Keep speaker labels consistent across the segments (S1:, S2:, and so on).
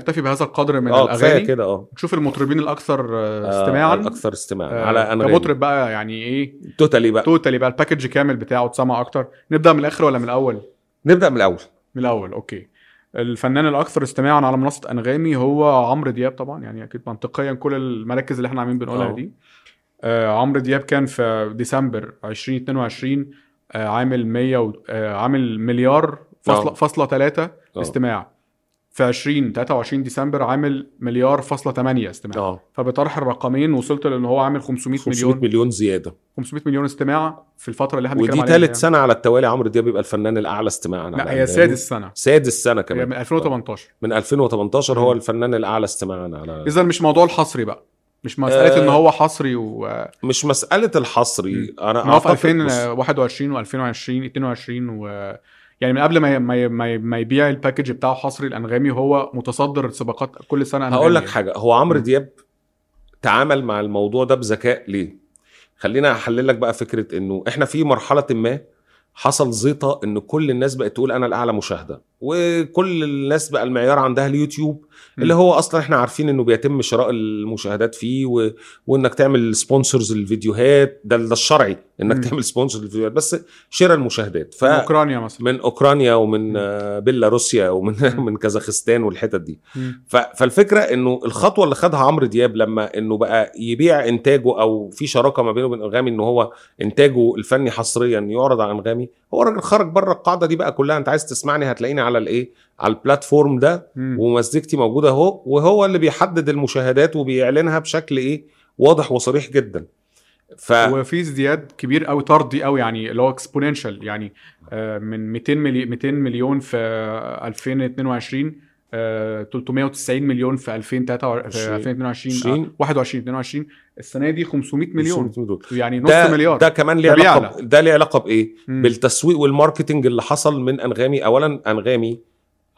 S1: نكتفي بهذا القدر من
S2: اه كفايه
S1: الاغاني
S2: كده اه
S1: نشوف المطربين الاكثر آه، استماعا
S2: اكثر استماعا
S1: آه،
S2: على انغامي
S1: كمطرب بقى يعني ايه
S2: توتالي بقى
S1: توتالي بقى الباكج كامل بتاعه اتسمع اكتر نبدا من الاخر ولا من الاول
S2: نبدا من الاول
S1: من الاول اوكي الفنان الاكثر استماعا على منصه انغامي هو عمرو دياب طبعا يعني اكيد منطقيا كل المراكز اللي احنا عاملين بنقولها
S2: آه.
S1: دي آه عمرو دياب كان في ديسمبر 2022 آه عامل 100 و... آه عامل مليار فاصله
S2: آه.
S1: فاصله 3
S2: آه.
S1: استماع في 20 23 ديسمبر عامل مليار فاصله 8 استماع
S2: اه
S1: فبطرح الرقمين وصلت لان هو عامل 500,
S2: 500
S1: مليون
S2: مليون زياده
S1: 500 مليون استماع في الفتره اللي احنا
S2: ودي
S1: بنتكلم عليها
S2: ثالث
S1: يعني.
S2: سنه على التوالي عمرو دياب يبقى الفنان الاعلى استماعا على
S1: لا هي
S2: أنغامي.
S1: سادس سنه
S2: سادس سنه
S1: هي
S2: كمان آه.
S1: من 2018
S2: من 2018 هو
S1: مم.
S2: الفنان الاعلى استماعا على
S1: اذا مش موضوع الحصري بقى مش مساله
S2: آه،
S1: ان هو حصري و آه،
S2: مش مساله الحصري
S1: مم.
S2: انا
S1: إن هو في
S2: اعتقد بص-
S1: 2021 و2020 22 و يعني من قبل ما ي- ما ي- ما ي- ما يبيع الباكج بتاعه حصري الانغامي هو متصدر سباقات كل سنه أنغامي
S2: هقول لك
S1: يعني.
S2: حاجه هو عمرو
S1: مم.
S2: دياب تعامل مع الموضوع ده بذكاء ليه خلينا احلل لك بقى فكره انه احنا في مرحله ما حصل زيطه ان كل الناس بقت تقول انا الاعلى مشاهده وكل الناس بقى المعيار عندها اليوتيوب
S1: مم.
S2: اللي هو اصلا احنا عارفين انه بيتم شراء المشاهدات فيه و... وانك تعمل سبونسرز للفيديوهات ده ده الشرعي انك
S1: مم.
S2: تعمل سبونسر للفيديوهات بس شراء المشاهدات ف...
S1: من اوكرانيا مثلا
S2: من اوكرانيا ومن
S1: مم.
S2: آه، بيلاروسيا ومن
S1: مم.
S2: من كازاخستان والحتت دي
S1: مم.
S2: ف- فالفكره انه الخطوه اللي خدها عمرو دياب لما انه بقى يبيع انتاجه او في شراكه ما بينه وبين انغامي ان هو انتاجه الفني حصريا يعرض على انغامي هو راجل خرج بره القاعده دي بقى كلها انت عايز تسمعني هتلاقيني على الايه على البلاتفورم ده
S1: مم.
S2: ومزيكتي موجوده اهو وهو اللي بيحدد المشاهدات وبيعلنها بشكل ايه واضح وصريح جدا ف
S1: وفي ازدياد كبير قوي طردي قوي يعني اللي هو اكسبوننشال يعني آه، من 200 ملي 200 مليون في آه، 2022 آه، 390 مليون في 2023 في 2022 آه، 21 22 السنه دي 500 مليون يعني نص
S2: ده
S1: مليار
S2: ده كمان ليه
S1: ده
S2: علاقه
S1: بيعلى.
S2: ب- ده ليه علاقه بايه؟
S1: مم.
S2: بالتسويق والماركتنج اللي حصل من انغامي اولا انغامي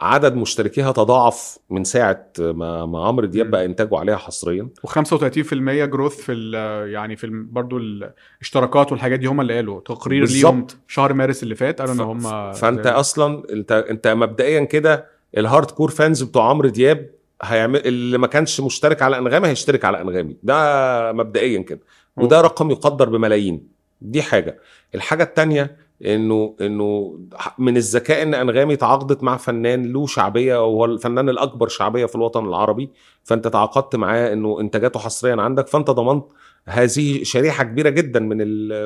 S2: عدد مشتركيها تضاعف من ساعه ما ما عمرو دياب
S1: مم.
S2: بقى انتاجه عليها حصريا
S1: و35% جروث في ال- يعني في الم- برضو الاشتراكات والحاجات دي هم اللي قالوا تقرير
S2: بالظبط.
S1: ليهم شهر مارس اللي فات قالوا ان
S2: ف-
S1: هم
S2: فانت اصلا انت انت مبدئيا كده الهارد كور فانز بتوع عمرو دياب هيعمل اللي ما كانش مشترك على انغامي هيشترك على انغامي ده مبدئيا كده
S1: أوه.
S2: وده رقم يقدر بملايين دي حاجه الحاجه الثانيه انه انه من الذكاء ان انغامي تعاقدت مع فنان له شعبيه وهو الفنان الاكبر شعبيه في الوطن العربي فانت تعاقدت معاه انه انتاجاته حصريا عندك فانت ضمنت هذه شريحه كبيره جدا من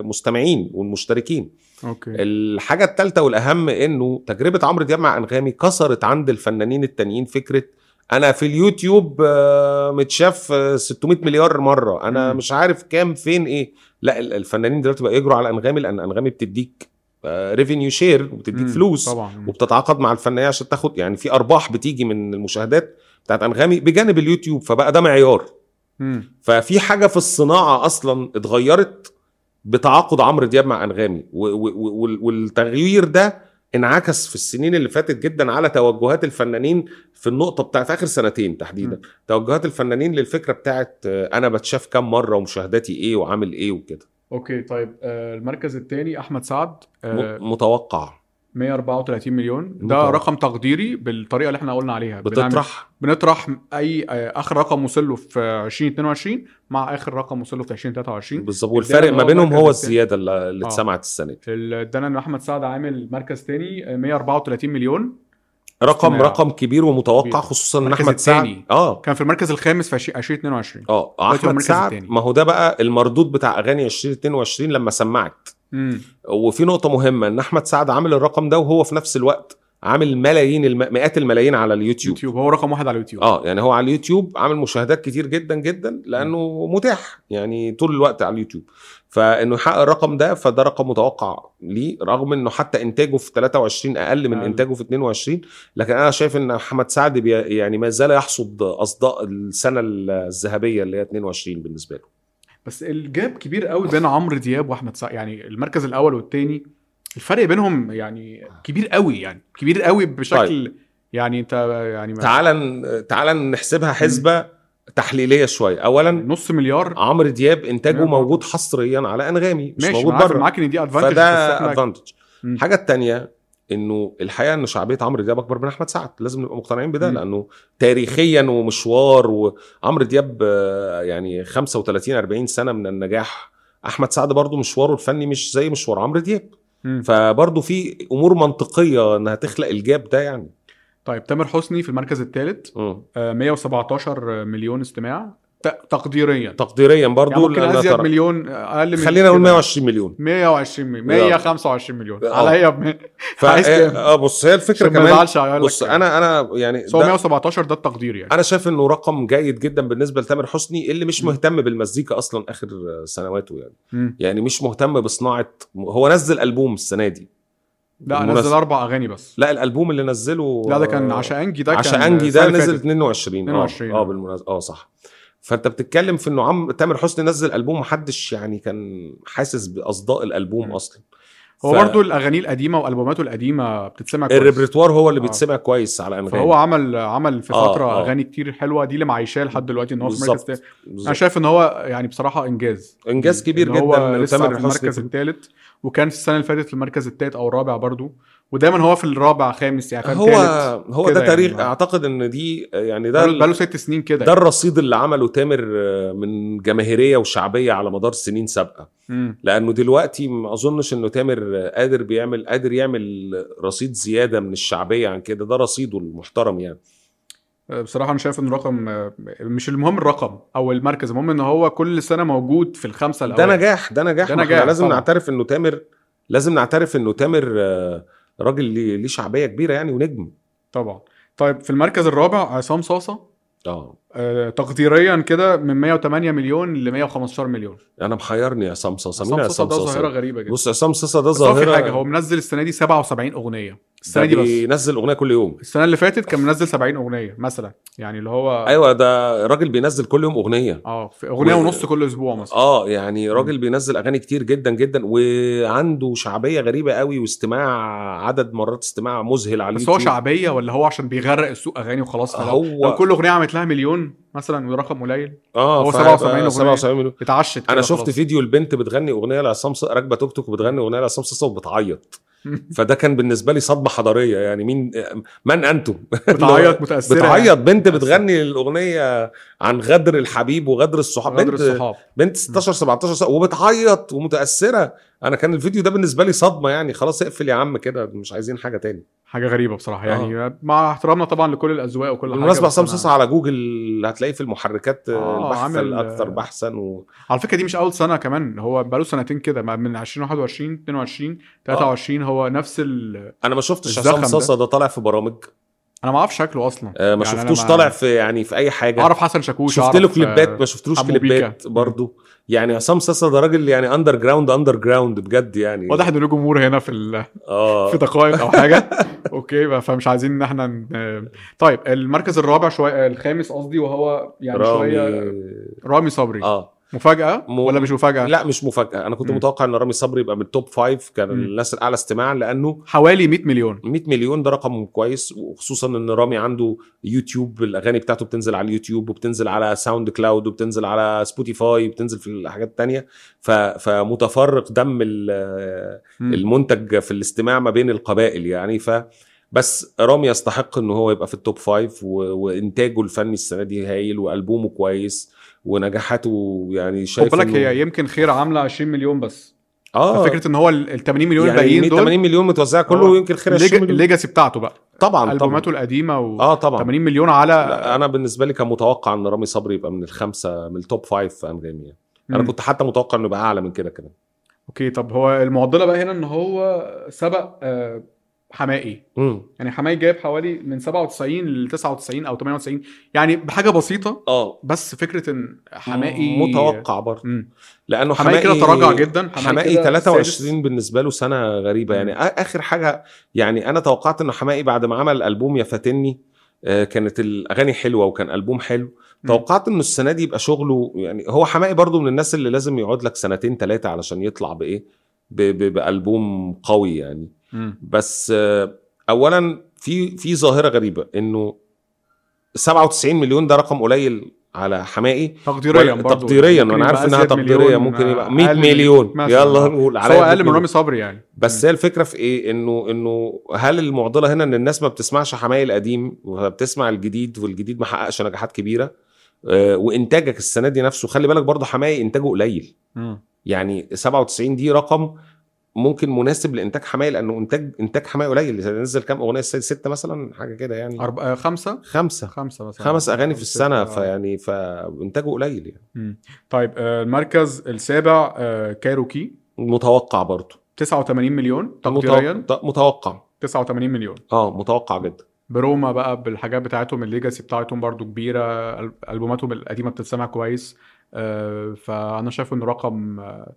S2: المستمعين والمشتركين
S1: اوكي
S2: الحاجه الثالثه والاهم انه تجربه عمرو دياب مع انغامي كسرت عند الفنانين التانيين فكره انا في اليوتيوب آه، متشاف آه، 600 مليار مره انا
S1: مم.
S2: مش عارف كام فين ايه لا ال- الفنانين دلوقتي بقى يجروا على انغامي لان انغامي بتديك آه، ريفينيو شير وبتديك
S1: مم.
S2: فلوس
S1: طبعا
S2: وبتتعاقد مع الفنانين عشان تاخد يعني في ارباح بتيجي من المشاهدات بتاعت انغامي بجانب اليوتيوب فبقى ده معيار
S1: مم.
S2: ففي حاجه في الصناعه اصلا اتغيرت بتعاقد عمرو دياب مع انغامي و- و- و- وال- والتغيير ده انعكس في السنين اللي فاتت جدا على توجهات الفنانين في النقطه بتاعت اخر سنتين تحديدا
S1: مم.
S2: توجهات الفنانين للفكره بتاعت آه، انا بتشاف كام مره ومشاهداتي ايه وعامل ايه وكده
S1: اوكي طيب آه، المركز الثاني احمد سعد آه،
S2: م- متوقع
S1: 134 مليون ده
S2: متوقع.
S1: رقم تقديري بالطريقه اللي احنا قلنا عليها بنعمل-
S2: بتطرح
S1: بنطرح اي آه، اخر رقم وصل له في 2022 مع اخر رقم وصل له في 2023
S2: بالظبط والفارق
S1: الداتا
S2: ما
S1: هو
S2: بينهم
S1: المركز
S2: هو
S1: التاني.
S2: الزياده اللي اللي
S1: يعني؟ آه.
S2: اتسمعت السنه دي
S1: ال- ادانا ان احمد سعد عامل مركز آه، ثاني 134 مليون
S2: رقم
S1: استماع.
S2: رقم كبير
S1: كبير.
S2: ومتوقع خصوصا ان
S1: المركز
S2: احمد سعد
S1: التاني.
S2: اه
S1: كان في المركز الخامس في 2022
S2: اه
S1: هو
S2: احمد
S1: المركز
S2: سعد
S1: التاني.
S2: ما هو ده بقى المردود بتاع اغاني 2022 لما سمعت
S1: امم
S2: وفي نقطه مهمه ان احمد سعد عامل الرقم ده وهو في نفس الوقت عامل ملايين الم... مئات الملايين على اليوتيوب
S1: يوتيوب هو رقم واحد على اليوتيوب
S2: اه يعني هو على اليوتيوب عامل مشاهدات كتير جدا جدا لانه متاح يعني طول الوقت على اليوتيوب فانه يحقق الرقم ده فده رقم متوقع ليه رغم انه حتى انتاجه في 23 اقل من
S1: أقل.
S2: انتاجه في 22 لكن انا شايف ان احمد سعد بي يعني ما زال يحصد اصداء السنه الذهبيه اللي هي 22 بالنسبه له
S1: بس الجاب كبير قوي بين عمرو دياب واحمد سعد يعني المركز الاول والثاني الفرق بينهم يعني كبير قوي يعني كبير قوي بشكل يعني انت يعني ما-
S2: طيب. تعال ن- تعال نحسبها حسبه تحليليه شويه اولا
S1: نص مليار
S2: عمرو دياب انتاجه
S1: مم.
S2: موجود حصريا على انغامي مش
S1: ماشي
S2: موجود
S1: أنا عارف
S2: بره
S1: معاك ان دي ادفانتج
S2: فده ادفانتج الحاجه الثانيه انه الحقيقه ان شعبيه عمرو دياب اكبر من احمد سعد لازم نبقى مقتنعين بده لانه تاريخيا ومشوار وعمرو دياب آه، يعني 35 40 سنه من النجاح احمد سعد برضو مشواره الفني مش زي مشوار عمرو دياب
S1: مم.
S2: فبرضو في امور منطقيه انها تخلق الجاب ده يعني
S1: طيب تامر حسني في المركز الثالث
S2: مم.
S1: آه، 117 مليون استماع ت- تقديريا
S2: تقديريا
S1: يعني
S2: برضو
S1: ممكن
S2: لأنها
S1: ازيد
S2: ترى-
S1: مليون آه، اقل من
S2: خلينا نقول
S1: كده.
S2: 120 مليون
S1: 120 مليون
S2: يلا.
S1: 125 مليون
S2: آه.
S1: عليا ب
S2: ف
S1: عايز كام؟
S2: آه، بص هي الفكره
S1: عشان ما
S2: كمان
S1: يزعلش هيقول لك
S2: بص
S1: كام.
S2: انا انا يعني
S1: بس هو
S2: ده-
S1: 117 ده التقدير يعني
S2: انا شايف انه رقم جيد جدا بالنسبه لتامر حسني اللي مش
S1: م.
S2: مهتم بالمزيكا اصلا اخر سنواته يعني
S1: مم.
S2: يعني مش مهتم بصناعه هو نزل البوم السنه دي
S1: لا
S2: بالمناسبة.
S1: نزل اربع اغاني بس
S2: لا الالبوم اللي نزله
S1: لا ده كان عشانجي ده كان
S2: عشان انجي
S1: السنة
S2: ده
S1: اللي
S2: نزل
S1: فاتت.
S2: 22 اه
S1: 22.
S2: اه بالمناسبه اه صح فانت بتتكلم في انه عم تامر حسني نزل البوم محدش يعني كان حاسس باصداء الالبوم
S1: م.
S2: اصلا
S1: هو
S2: ف-
S1: برضه الاغاني القديمه والبوماته القديمه بتتسمع كويس
S2: الريبرتوار هو اللي
S1: آه.
S2: بيتسمع كويس على انغامي
S1: فهو عمل عمل في
S2: آه،
S1: فتره
S2: آه.
S1: اغاني كتير حلوه دي اللي معيشاه لحد دلوقتي ان هو في المركز
S2: بالظبط
S1: الثالث
S2: بالظبط.
S1: انا شايف ان هو يعني بصراحه انجاز
S2: انجاز كبير
S1: إن هو
S2: جدا
S1: لسه
S2: لتامر
S1: في المركز
S2: حسني
S1: الثالث وكان في السنه اللي فاتت في المركز الثالث او الرابع برضه ودايما هو في الرابع خامس يعني
S2: هو
S1: هو
S2: هو
S1: كده
S2: ده تاريخ
S1: يعني.
S2: يعني. اعتقد ان دي يعني ده
S1: بقاله ست سنين كده
S2: ده الرصيد اللي عمله تامر آه، من جماهيريه وشعبيه على مدار سنين سابقه
S1: مم.
S2: لانه دلوقتي ما اظنش انه تامر آه، قادر بيعمل قادر يعمل رصيد زياده من الشعبيه عن كده ده رصيده المحترم يعني
S1: بصراحة أنا شايف إن الرقم مش المهم الرقم أو المركز المهم إن هو كل سنة موجود في الخمسة
S2: ده
S1: الأوائل
S2: نجاح ده نجاح
S1: ده
S2: ما إحنا
S1: نجاح
S2: لازم
S1: طبعاً.
S2: نعترف انه تامر لازم نعترف انه تامر آه، راجل ليه ليه شعبيه كبيره يعني ونجم
S1: طبعا طيب في المركز الرابع عصام صاصة
S2: اه
S1: آه، تقديريا كده من 108 مليون ل 115 مليون
S2: انا محيرني يا عصام صاصا مين
S1: عصام
S2: يا
S1: صاصة
S2: عصام
S1: ده ظاهرة
S2: صاصا
S1: غريبة جدا
S2: بص عصام صاصا ده
S1: بس هو في
S2: ظاهره
S1: حاجة هو منزل السنة دي 77 أغنية السنة دي بس
S2: بينزل اغنيه كل يوم
S1: السنة اللي فاتت كان منزل 70 أغنية مثلا يعني اللي هو
S2: ايوه ده راجل بينزل كل يوم اغنيه
S1: اه في أغنية
S2: و-
S1: ونص كل أسبوع مثلا
S2: اه يعني راجل بينزل اغاني كتير جدا جدا وعنده شعبيه غريبه قوي واستماع عدد مرات استماع مذهل على
S1: بس هو
S2: اليوتيوب.
S1: شعبية ولا هو عشان بيغرق السوق أغاني وخلاص فلو لو
S2: آه، هو
S1: كل أغنية عملت لها مليون مثلا ورقم قليل
S2: اه
S1: هو
S2: فهيبقى
S1: 77 أغنية.
S2: 77 مليون
S1: اتعشت كده
S2: انا شفت
S1: خلاص.
S2: فيديو البنت بتغني اغنيه لعصام ص- راكبه توك توك وبتغني اغنيه لعصام صاصا وبتعيط فده كان بالنسبه لي صدمه حضاريه يعني مين من انتم
S1: بتعيط متاثره
S2: بتعيط بنت بتغني الاغنيه عن غدر الحبيب وغدر الصحاب
S1: غدر
S2: بنت
S1: الصحاب
S2: بنت 16 17 سنه وبتعيط ومتاثره انا كان الفيديو ده بالنسبه لي صدمه يعني خلاص اقفل يا عم كده مش عايزين حاجه تاني
S1: حاجه غريبه بصراحه يعني
S2: آه.
S1: مع احترامنا طبعا لكل الاذواق وكل حاجه
S2: بالمناسبه
S1: بس
S2: عصام
S1: أنا-
S2: صاصا على جوجل هتلاقيه في المحركات
S1: آه،
S2: البحث
S1: عامل-
S2: الاكثر بحثا و...
S1: على فكره دي مش اول سنه كمان هو بقاله سنتين كده ما- من 2021 22 23 هو نفس ال...
S2: انا ما شفتش
S1: الزخم
S2: عصام صاصا ده طالع في برامج
S1: انا ما اعرف شكله اصلا
S2: آه ما
S1: يعني أنا
S2: شفتوش
S1: ما-
S2: طالع في يعني في اي حاجه
S1: اعرف حسن شاكوش
S2: شفت
S1: أعرف،
S2: له كليبات
S1: آه،
S2: ما شفتلوش
S1: حمو بيكا.
S2: كليبات برضه يعني عصام صاصا ده راجل يعني اندر جراوند اندر جراوند بجد يعني
S1: واضح ان له جمهور هنا في ال...
S2: اه
S1: في تقايم او حاجه اوكي بقى فمش عايزين ان احنا ن- طيب المركز الرابع شويه الخامس قصدي وهو يعني
S2: رامي
S1: شويه رامي صبري
S2: اه
S1: مفاجاه
S2: مو-
S1: ولا مش مفاجاه
S2: لا مش مفاجاه انا كنت
S1: مم.
S2: متوقع ان رامي صبري يبقى من التوب فايف كان
S1: مم.
S2: الناس الاعلى استماعا لانه
S1: حوالي 100 مليون
S2: 100 مليون ده رقم كويس وخصوصا ان رامي عنده يوتيوب الاغاني بتاعته بتنزل على اليوتيوب وبتنزل على ساوند كلاود وبتنزل على سبوتيفاي وبتنزل في الحاجات التانية ف... فمتفرق دم ال-
S1: مم.
S2: المنتج في الاستماع ما بين القبائل يعني ف بس رامي يستحق ان هو يبقى في التوب فايف و... وانتاجه الفني السنه دي هايل والبومه كويس ونجاحاته يعني
S1: خد
S2: شايف
S1: بالك
S2: إنه-
S1: هي يمكن خير عامله 20 مليون بس
S2: اه
S1: فكره ان هو ال 80 مليون
S2: يعني
S1: الباقيين
S2: 100
S1: دول آه.
S2: 80 مليون متوزعه كله
S1: هو
S2: ويمكن خير 20 مليون
S1: الليجاسي بتاعته بقى
S2: طبعا طبعا
S1: البوماته القديمه و
S2: اه طبعا
S1: 80 مليون على
S2: لا، انا بالنسبه لي كان متوقع ان رامي صبري يبقى من الخمسه من التوب فايف في انغامي يعني. انا
S1: مم.
S2: كنت حتى متوقع انه يبقى اعلى من كده كمان
S1: اوكي طب هو المعضله بقى هنا ان هو سبق آه، حمائي
S2: مم.
S1: يعني حمائي جايب حوالي من 97 ل 99 او 98 يعني بحاجه بسيطه
S2: اه
S1: بس فكره ان حمائي
S2: متوقع برضه
S1: مم.
S2: لانه
S1: حمائي
S2: حماقي
S1: كده تراجع جدا
S2: حماقي
S1: كده
S2: 23 بالنسبه له سنه غريبه
S1: مم.
S2: يعني آ- اخر حاجه يعني انا توقعت ان حماقي بعد ما عمل البوم يا فاتني آه، كانت الاغاني حلوه وكان البوم حلو
S1: مم.
S2: توقعت انه السنه دي يبقى شغله يعني هو حماقي برضو من الناس اللي لازم يقعد لك سنتين ثلاثه علشان يطلع بايه ب- ب- بالبوم قوي يعني
S1: سادس. مم.
S2: بس آه، اولا في في ظاهره غريبه انه 97 مليون ده رقم قليل على حمائي
S1: تقديريا
S2: ولا-
S1: برضه
S2: تقديريا
S1: ممكن
S2: وانا
S1: يبقى
S2: عارف انها
S1: أزيد
S2: تقديريه
S1: مليون، آه،
S2: ممكن يبقى
S1: أقل
S2: 100
S1: من-
S2: مليون
S1: مثلا.
S2: يلا نقول
S1: بس هو
S2: عليا
S1: اقل من
S2: 100
S1: رامي صبري يعني
S2: بس هي الفكره في ايه انه انه هل المعضله هنا ان الناس ما بتسمعش حماية القديم وبتسمع الجديد والجديد ما حققش نجاحات كبيره آه، وانتاجك السنه دي نفسه خلي بالك برضه حماية انتاجه قليل
S1: مم.
S2: يعني 97 دي رقم ممكن مناسب لانتاج حماية لانه انتاج انتاج حماية قليل نزل كام اغنيه السيد سته مثلا حاجه كده يعني
S1: أرب... آه، خمسة
S2: خمسه
S1: خمسة مثلا
S2: خمس اغاني في
S1: خمسة،
S2: السنه
S1: آه.
S2: فيعني فانتاجه قليل يعني
S1: طيب آه، المركز السابع آه، كايروكي
S2: متوقع برضه
S1: 89 مليون تقديريا
S2: متوقع متوقع
S1: 89 مليون
S2: اه متوقع جدا
S1: بروما بقى بالحاجات بتاعتهم الليجاسي بتاعتهم برضو كبيره أل- البوماتهم القديمه بتتسمع كويس آه، فانا شايف ان رقم آه،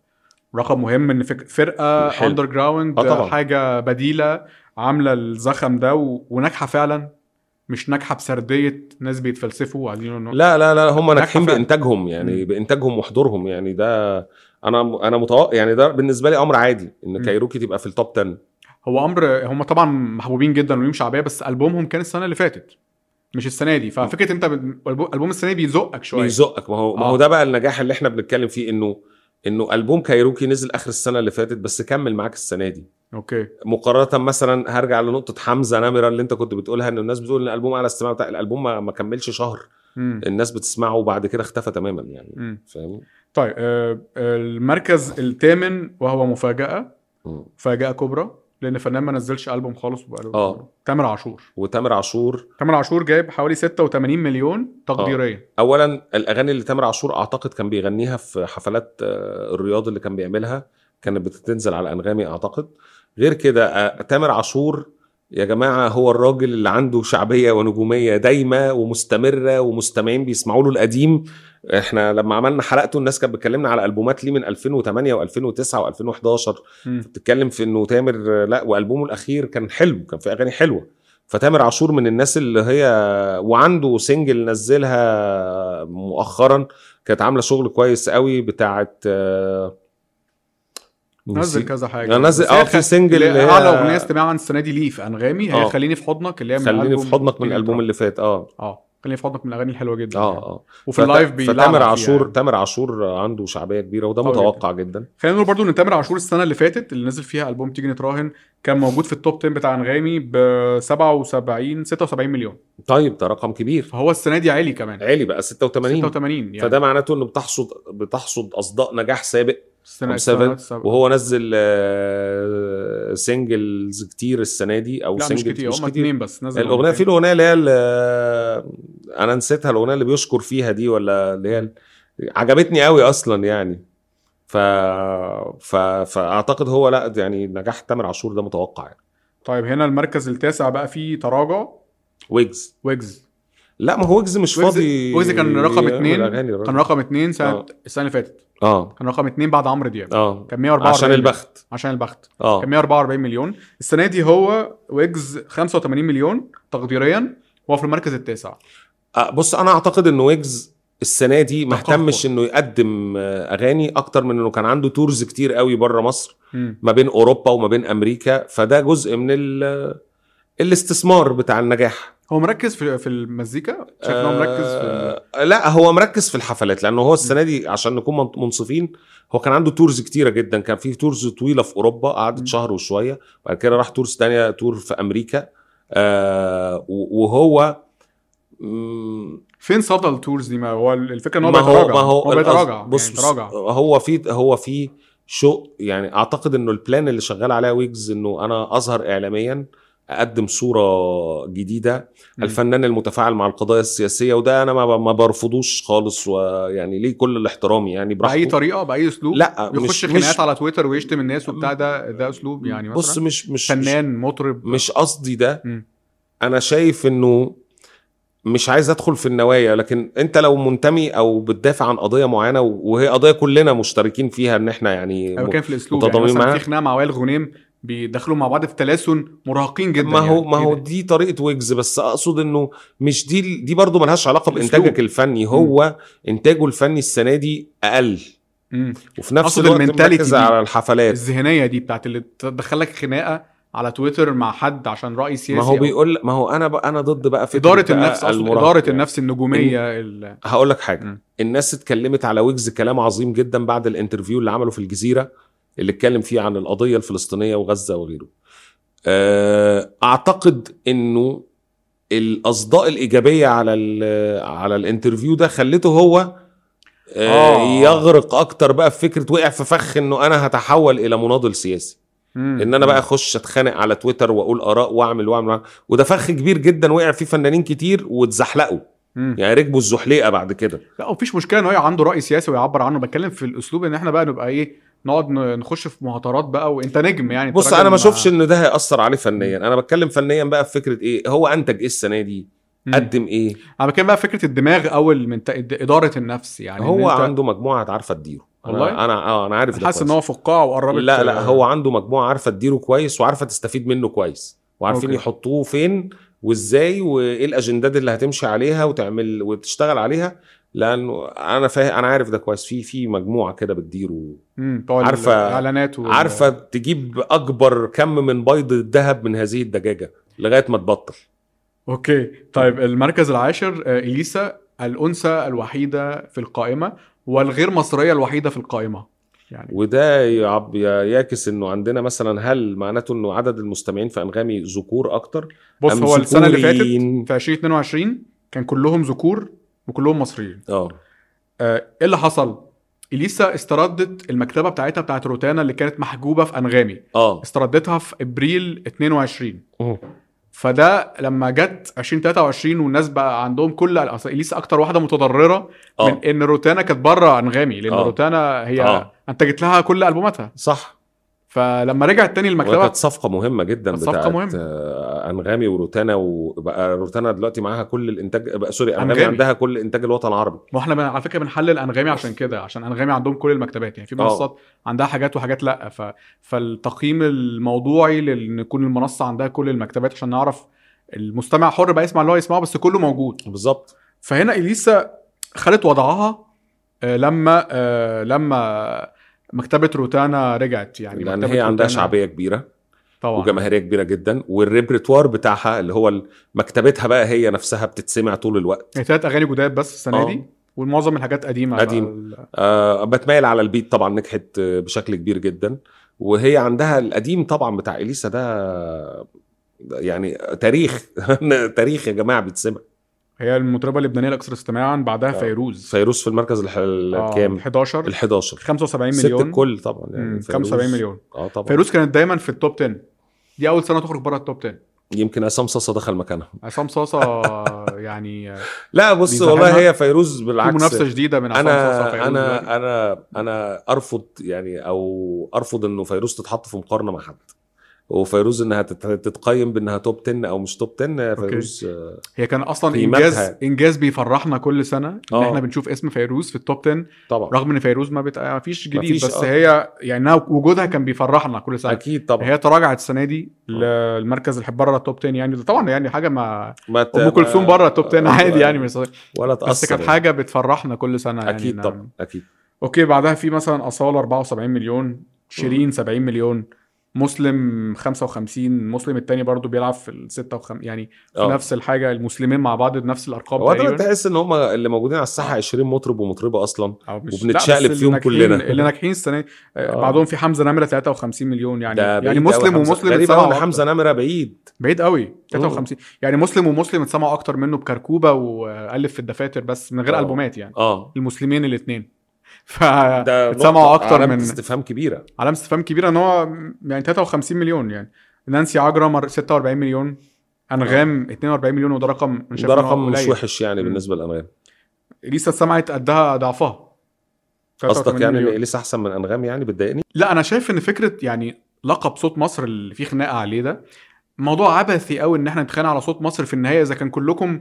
S1: رقم مهم ان فك- فرقه
S2: حلو.
S1: اندر جراوند
S2: آه طبعاً.
S1: حاجه بديله عامله الزخم ده و- وناجحه فعلا مش ناجحه بسرديه ناس بيتفلسفوا وعايزين إنه-
S2: لا لا لا هم ناجحين
S1: فعلا.
S2: بانتاجهم يعني
S1: مم.
S2: بانتاجهم وحضورهم يعني ده انا انا متوقع يعني ده بالنسبه لي امر عادي ان
S1: مم.
S2: كايروكي تبقى في التوب 10
S1: هو امر هم طبعا محبوبين جدا وليهم شعبيه بس البومهم كان السنه اللي فاتت مش السنه دي ففكره انت ب- البوم البوم السنه دي بيزقك شويه
S2: بيزقك ما هو ما هو
S1: آه.
S2: ده بقى النجاح اللي احنا بنتكلم فيه انه انه البوم كايروكي نزل اخر السنه اللي فاتت بس كمل معاك السنه دي
S1: اوكي
S2: مقارنه مثلا هرجع لنقطه حمزه نمره اللي انت كنت بتقولها ان الناس بتقول ان الالبوم اعلى استماع بتاع الالبوم ما, ما كملش شهر
S1: مم.
S2: الناس بتسمعه وبعد كده اختفى تماما يعني
S1: مم.
S2: فاهم
S1: طيب آه، المركز الثامن وهو مفاجاه
S2: مم.
S1: مفاجاه كبرى لان فنان ما نزلش البوم خالص وبقاله
S2: آه.
S1: تامر عاشور
S2: وتامر عاشور
S1: تامر عاشور جايب حوالي 86 مليون تقديريا
S2: اولا الاغاني اللي تامر عاشور اعتقد كان بيغنيها في حفلات آه، الرياض اللي كان بيعملها كانت بتنزل على انغامي اعتقد غير كده آه، تامر عاشور يا جماعه هو الراجل اللي عنده شعبيه ونجوميه دايمه ومستمره ومستمعين بيسمعوا له القديم احنا لما عملنا حلقته الناس كانت بتكلمنا على البومات ليه من 2008 و2009 و2011
S1: مم.
S2: بتتكلم في انه تامر لا والبومه الاخير كان حلو كان في اغاني حلوه فتامر عاشور من الناس اللي هي وعنده سنجل نزلها مؤخرا كانت عامله شغل كويس قوي بتاعت آه،
S1: نزل
S2: نسيت.
S1: كذا حاجه
S2: أنا نزل
S1: بس هي
S2: اه في
S1: خ-
S2: سنجل
S1: اللي
S2: اللي
S1: هي اعلى اغنيه
S2: هي
S1: استماعا السنه دي ليه في انغامي هي
S2: آه.
S1: خليني في حضنك اللي هي من
S2: خليني في
S1: ألبوم
S2: حضنك من
S1: بيلي
S2: الالبوم
S1: تراب.
S2: اللي فات اه
S1: اه خليني في حضنك من الاغاني الحلوه جدا
S2: اه
S1: يعني.
S2: اه
S1: وفي اللايف بيلعب
S2: فتامر
S1: فيها
S2: عاشور
S1: يعني.
S2: تامر عاشور عنده شعبيه كبيره وده
S1: آه جداً.
S2: متوقع جدا
S1: خلينا نقول برضو ان تامر عاشور السنه اللي فاتت اللي نزل فيها البوم تيجي نتراهن كان موجود في التوب 10 بتاع انغامي ب 77 76 مليون
S2: طيب ده رقم كبير
S1: فهو السنه دي عالي كمان
S2: عالي بقى 86
S1: 86 يعني
S2: فده معناته انه بتحصد بتحصد اصداء نجاح سابق
S1: السنه
S2: خمسة
S1: السنة السابقة.
S2: وهو نزل آه، سنجلز كتير السنه دي او
S1: لا مش
S2: سنجل
S1: كتير هم اتنين بس نزل
S2: الاغنيه
S1: أغنيتين.
S2: في الاغنيه اللي هي ال- انا نسيتها الاغنيه اللي بيشكر فيها دي ولا اللي هي ال- عجبتني قوي اصلا يعني ف... ف... فاعتقد هو لا يعني نجاح تامر عاشور ده متوقع يعني
S1: طيب هنا المركز التاسع بقى فيه تراجع
S2: ويجز
S1: ويجز
S2: لا ما هو ويجز مش
S1: ويجز-
S2: فاضي
S1: ويجز كان رقم
S2: يعمل
S1: اتنين
S2: أغاني
S1: كان
S2: الراجل.
S1: رقم اتنين سنه
S2: آه.
S1: السنه اللي فاتت
S2: اه
S1: كان رقم اتنين بعد عمرو دياب
S2: اه
S1: كان 144
S2: عشان
S1: مليون.
S2: البخت
S1: عشان البخت
S2: اه
S1: كان 144 مليون السنه دي هو ويجز 85 مليون تقديريا هو في المركز التاسع
S2: آه، بص انا اعتقد ان ويجز السنه دي ما
S1: تقهقر.
S2: اهتمش انه يقدم آه، اغاني اكتر من انه كان عنده تورز كتير قوي بره مصر
S1: مم.
S2: ما بين اوروبا وما بين امريكا فده جزء من ال- آه، الاستثمار بتاع النجاح
S1: هو مركز في في المزيكا شايف ان هو مركز في ال-
S2: آه، لا هو مركز في الحفلات لانه هو السنه دي عشان نكون من- منصفين هو كان عنده تورز كتيره جدا كان في تورز طويله في اوروبا
S1: مم.
S2: قعدت شهر وشويه وبعد كده راح تورز تانية تور في امريكا آه، و- وهو مم،
S1: فين صدى التورز دي ما هو الفكره ان هو
S2: ما هو
S1: بيتراجع
S2: ما هو القصد-
S1: بيتراجع
S2: بص
S1: يعني
S2: بص
S1: بيتراجع
S2: هو في هو في شو يعني اعتقد انه البلان اللي شغال عليها ويجز انه انا اظهر اعلاميا اقدم صوره جديده
S1: مم.
S2: الفنان المتفاعل مع القضايا السياسيه وده انا ما ما برفضوش خالص ويعني ليه كل الاحترام يعني
S1: باي
S2: براحته
S1: طريقه باي اسلوب
S2: لا
S1: يخش
S2: مش
S1: خناقات
S2: مش
S1: على تويتر ويشتم الناس وبتاع ده ده اسلوب يعني مثلا
S2: بص مش مش مش-
S1: فنان مطرب
S2: مش قصدي ده
S1: مم.
S2: انا شايف انه مش عايز ادخل في النوايا لكن انت لو منتمي او بتدافع عن قضيه معينه وهي قضيه كلنا مشتركين فيها ان احنا يعني
S1: أو
S2: م-
S1: كان في الاسلوب يعني
S2: متضامنين
S1: مثلا
S2: معاه.
S1: في خناقه مع وائل غنيم بيدخلوا مع بعض في تلاسن مراهقين جدا
S2: ما هو
S1: يعني.
S2: ما هو
S1: إيه ده؟
S2: دي طريقه ويجز بس اقصد انه مش دي ال- دي برضه ملهاش علاقه
S1: الأسلوب.
S2: بانتاجك الفني هو انتاجه الفني السنه دي اقل
S1: مم.
S2: وفي نفس
S1: أقصد
S2: الوقت
S1: المنتاليتي
S2: مركز
S1: دي.
S2: على الحفلات
S1: الذهنيه دي بتاعت اللي تدخلك خناقه على تويتر مع حد عشان راي سياسي
S2: ما هو
S1: أو-
S2: بيقول ما هو انا بقى انا ضد بقى فكره
S1: اداره
S2: بقى
S1: النفس أصلاً،
S2: المراهقة
S1: اداره
S2: يعني.
S1: النفس النجوميه ال...
S2: هقول لك حاجه
S1: م.
S2: الناس اتكلمت على ويجز كلام عظيم جدا بعد الانترفيو اللي عمله في الجزيره اللي اتكلم فيه عن القضيه الفلسطينيه وغزه وغيره آه، اعتقد انه الاصداء الايجابيه على ال- على الانترفيو ده خلته هو آه،
S1: آه.
S2: يغرق اكتر بقى في فكره وقع في فخ انه انا هتحول الى مناضل سياسي
S1: مم.
S2: ان انا بقى اخش اتخانق على تويتر واقول اراء واعمل واعمل, وأعمل. وده فخ كبير جدا وقع فيه فنانين كتير واتزحلقوا
S1: مم.
S2: يعني ركبوا الزحليقه بعد كده
S1: لا مفيش مشكله ان هو يبقى عنده راي سياسي ويعبر عنه بتكلم في الاسلوب ان احنا بقى نبقى ايه نقعد ن- نخش في مهاترات بقى وانت نجم يعني أنت
S2: بص
S1: راجل
S2: انا ما
S1: مع-
S2: اشوفش ان ده هياثر عليه فنيا انا بتكلم فنيا بقى في فكره ايه هو انتج ايه السنه دي
S1: مم. يعني
S2: قدم ايه
S1: انا بتكلم بقى فكره الدماغ او المنت... اداره النفس يعني
S2: هو
S1: إن أنت
S2: عنده مجموعه عارفه تديره
S1: والله؟
S2: انا انا اه انا عارف ده
S1: حاسس ان
S2: كويس.
S1: هو فقاعه وقربت
S2: لا لا هو عنده مجموعه عارفه تديره كويس وعارفه تستفيد منه كويس وعارفين
S1: أوكي.
S2: يحطوه فين وازاي وايه الاجندات اللي هتمشي عليها وتعمل وتشتغل عليها لانه انا فاهم انا عارف ده كويس في في مجموعه كده بتديره
S1: مم، بتوع
S2: عارفة-
S1: الاعلانات وال...
S2: عارفه تجيب اكبر كم من بيض الذهب من هذه الدجاجه لغايه ما تبطل
S1: اوكي طيب المركز العاشر آه، اليسا الانثى الوحيده في القائمه والغير مصريه الوحيده في القائمه يعني
S2: وده يعب يعكس انه عندنا مثلا هل معناته انه عدد المستمعين في انغامي ذكور اكتر
S1: بص
S2: أم
S1: هو السنه اللي فاتت
S2: ذكوريين؟
S1: في 2022 كان كلهم ذكور وكلهم مصريين
S2: اه
S1: آه، ايه اللي حصل اليسا استردت المكتبه بتاعتها بتاعت روتانا اللي كانت محجوبه في انغامي
S2: اه
S1: استردتها في ابريل 22 فده لما جت 2023 والناس بقى عندهم كل اصل اليسا اكتر واحده متضرره
S2: آه.
S1: من ان روتانا كانت بره انغامي لان
S2: آه.
S1: روتانا هي
S2: آه.
S1: انتجت لها كل البوماتها
S2: صح
S1: فلما رجعت تاني المكتبه
S2: وكانت صفقه مهمه جدا
S1: كانت صفقة
S2: بتاعت
S1: مهمة.
S2: آه، انغامي وروتانا وبقى روتانا دلوقتي معاها كل الانتاج بقى سوري انغامي,
S1: أنغامي.
S2: عندها كل انتاج الوطن العربي
S1: ما احنا بن- على فكره بنحلل انغامي عشان كده عشان انغامي عندهم كل المكتبات يعني في
S2: آه.
S1: منصات عندها حاجات وحاجات لا ف... فالتقييم الموضوعي لان يكون المنصه عندها كل المكتبات عشان نعرف المستمع حر بقى يسمع اللي هو يسمعه بس كله موجود
S2: بالظبط
S1: فهنا اليسا خدت وضعها آه، لما آه، لما مكتبه روتانا رجعت يعني
S2: لان
S1: مكتبة
S2: هي عندها
S1: روتانا-
S2: شعبيه كبيره
S1: طبعا
S2: وجماهيريه كبيره جدا والريبرتوار بتاعها اللي هو ال- مكتبتها بقى هي نفسها بتتسمع طول الوقت
S1: هي ثلاث اغاني جداد بس السنه
S2: آه.
S1: دي والمعظم الحاجات قديمه بقى.
S2: قديمة. آه بتميل على البيت طبعا نجحت آه، بشكل كبير جدا وهي عندها القديم طبعا بتاع اليسا ده ده يعني تاريخ تاريخ يا جماعه بيتسمع
S1: هي المطربه اللبنانيه الاكثر استماعا بعدها
S2: آه.
S1: فيروز
S2: فيروز في المركز الح- الكام؟
S1: آه، 11
S2: ال 11
S1: 75
S2: ست
S1: مليون
S2: الكل طبعا
S1: مم،
S2: يعني فيروز.
S1: 75 مليون
S2: اه طبعا فيروز
S1: فيروز كانت دايما في التوب 10 دي اول سنه تخرج بره التوب 10
S2: يمكن عصام صاصا دخل مكانها
S1: عصام صاصا يعني آه،
S2: لا بص
S1: بيزعلها.
S2: والله هي فيروز
S1: في
S2: بالعكس
S1: منافسه شديده من عصام صاصا فيروز دلوقتي.
S2: انا انا انا انا ارفض يعني او ارفض انه فيروز تتحط في مقارنه مع حد وفيروز انها تت- تتقيم بانها توب 10 او مش توب 10 فيروز آه،
S1: هي كان اصلا
S2: قيمتها.
S1: انجاز انجاز بيفرحنا كل سنه ان
S2: آه.
S1: احنا بنشوف اسم فيروز في التوب 10
S2: طبعا
S1: رغم ان فيروز ما, بت... ما فيش جديد
S2: مفيش،
S1: بس
S2: آه.
S1: هي يعني إنها وجودها كان بيفرحنا كل سنه
S2: اكيد طبعا
S1: هي تراجعت السنه دي
S2: آه.
S1: للمركز اللي بره التوب 10 يعني ده طبعا يعني حاجه ما
S2: ما ت-
S1: ام كلثوم
S2: ما-
S1: بره التوب 10
S2: آه،
S1: عادي يعني مش
S2: ولا يعني.
S1: بس
S2: تاثر
S1: كانت حاجه بتفرحنا كل سنه يعني
S2: اكيد
S1: إنها-
S2: طبعا اكيد
S1: اوكي بعدها في مثلا اصاله 74 مليون شيرين 70 مليون مسلم 55 مسلم التاني برضو بيلعب في ال 6 وخم... يعني في
S2: آه.
S1: نفس يعني. الحاجه المسلمين مع بعض بنفس الارقام
S2: هو ده
S1: تقريبا
S2: تحس ان هم اللي موجودين على
S1: آه.
S2: الساحه 20 مطرب ومطربه اصلا
S1: أو مش-
S2: وبنتشقلب
S1: لا، بس
S2: فيهم
S1: اللي ناجحين-
S2: كلنا.
S1: اللي ناجحين السنه دي آه،
S2: آه.
S1: بعضهم في حمزه نمره 53 مليون يعني
S2: ده بعيد
S1: يعني
S2: أوي
S1: مسلم
S2: حمزة.
S1: ومسلم
S2: غريب
S1: اتسمعوا
S2: قوي
S1: أكتر.
S2: حمزه نمره بعيد
S1: بعيد قوي 53 يعني مسلم ومسلم اتسمعوا اكتر منه بكركوبه والف في الدفاتر بس من غير
S2: آه.
S1: البومات يعني
S2: اه
S1: المسلمين الاثنين ف
S2: ده
S1: اتسمعوا
S2: نقطة
S1: اكتر
S2: علامة
S1: من
S2: استفهام كبيره
S1: علامه استفهام كبيره ان هو يعني 53 مليون يعني نانسي عجرة مر 46 مليون انغام 42 مليون وده رقم أنا شايف إن
S2: ده
S1: هو
S2: آه. رقم مش
S1: قليل.
S2: وحش يعني
S1: مم.
S2: بالنسبه للانغام
S1: اليسا سمعت قدها ضعفها
S2: قصدك
S1: 83
S2: يعني ان
S1: مليون.
S2: اليسا احسن من انغام يعني بتضايقني
S1: لا انا شايف ان فكره يعني لقب صوت مصر اللي فيه خناقه عليه ده موضوع عبثي قوي ان احنا نتخانق على صوت مصر في النهايه اذا كان كلكم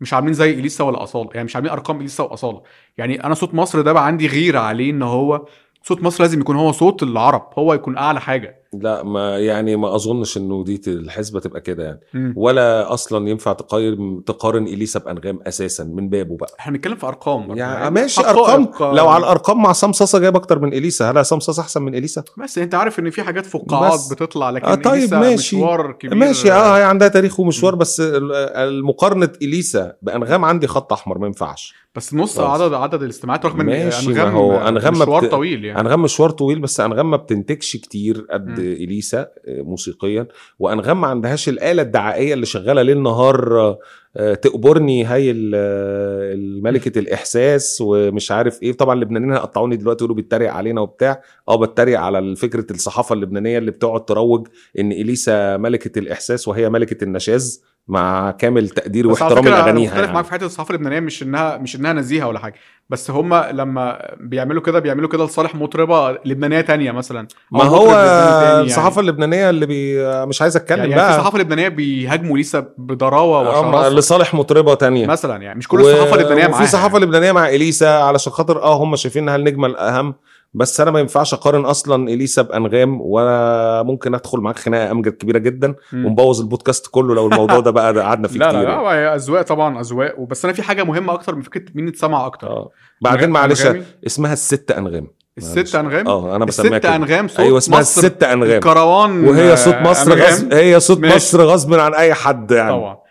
S1: مش عاملين زي اليسا ولا اصاله يعني مش عاملين ارقام اليسا واصاله يعني انا صوت مصر ده بقى عندي غيره عليه ان هو صوت مصر لازم يكون هو صوت العرب هو يكون اعلى حاجه
S2: لا ما يعني ما اظنش انه دي ت- الحسبه تبقى كده يعني
S1: مم.
S2: ولا اصلا ينفع تقارن تقارن اليسا بانغام اساسا من بابه بقى
S1: احنا بنتكلم في ارقام برضه،
S2: يعني ماشي ارقام
S1: حقائق.
S2: لو على الارقام مع عصام صاصا جايب اكتر من اليسا هل عصام صاصا احسن من اليسا
S1: بس انت عارف ان في حاجات فقاعات
S2: بس.
S1: بتطلع لكن
S2: آه، طيب،
S1: إليسا
S2: ماشي.
S1: مشوار كبير
S2: ماشي اه هي عندها تاريخ ومشوار بس ال- ال- مقارنه اليسا بانغام عندي خط احمر ما ينفعش
S1: بس نص
S2: خلاص.
S1: عدد عدد الاستماعات رغم ان
S2: ماشي، ما
S1: انغام
S2: هو أنغام ما
S1: مشوار
S2: بت-
S1: طويل يعني
S2: انغام مشوار طويل بس انغام ما بتنتجش كتير قد
S1: مم.
S2: اليسا آه، موسيقيا وانغام ما عندهاش الاله الدعائيه اللي شغاله ليل نهار آه، آه، تقبرني هاي ال- آه، ملكه الاحساس ومش عارف ايه طبعا اللبنانيين هيقطعوني دلوقتي يقولوا بيتريق علينا وبتاع اه بتريق على فكره الصحافه اللبنانيه اللي بتقعد تروج ان اليسا ملكه الاحساس وهي ملكه النشاز مع كامل تقدير
S1: بس على
S2: واحترامي
S1: فكره انا
S2: لاغانيها
S1: مختلف
S2: يعني.
S1: معاك في حته الصحافه اللبنانيه مش انها مش انها نزيهه ولا حاجه بس هم لما بيعملوا كده بيعملوا كده لصالح مطربه لبنانيه تانية مثلا أو
S2: ما
S1: مطرب
S2: هو
S1: لبناني تاني يعني.
S2: الصحافه اللبنانيه اللي بي... مش عايز اتكلم
S1: يعني, يعني في
S2: بقى
S1: الصحافه اللبنانيه بيهاجموا ليسا بدراوه
S2: آه،
S1: وشراسه
S2: لصالح مطربه تانية
S1: مثلا يعني مش كل الصحافه اللبنانيه معاها يعني.
S2: في صحافه لبنانيه مع اليسا علشان خاطر اه هم شايفين انها النجمه الاهم بس انا ما ينفعش اقارن اصلا اليسا بانغام ولا ممكن ادخل معاك خناقه امجد كبيره جدا
S1: مم.
S2: ونبوظ البودكاست كله لو الموضوع ده بقى قعدنا فيه
S1: لا
S2: كتير
S1: لا
S2: يعني.
S1: لا هي اذواق طبعا اذواق وبس انا في حاجه مهمه اكتر من فكره مين اتسمع اكتر
S2: اه بعدين معلش
S1: أنغامي؟
S2: اسمها الست انغام معلش.
S1: الست انغام
S2: اه انا بسميها
S1: الست
S2: كده
S1: انغام صوت
S2: ايوه اسمها
S1: مصر
S2: الست انغام
S1: الكروان آه،
S2: وهي صوت مصر
S1: أنغام.
S2: غصب هي صوت
S1: ماشي.
S2: مصر غصب عن اي حد يعني
S1: طبعا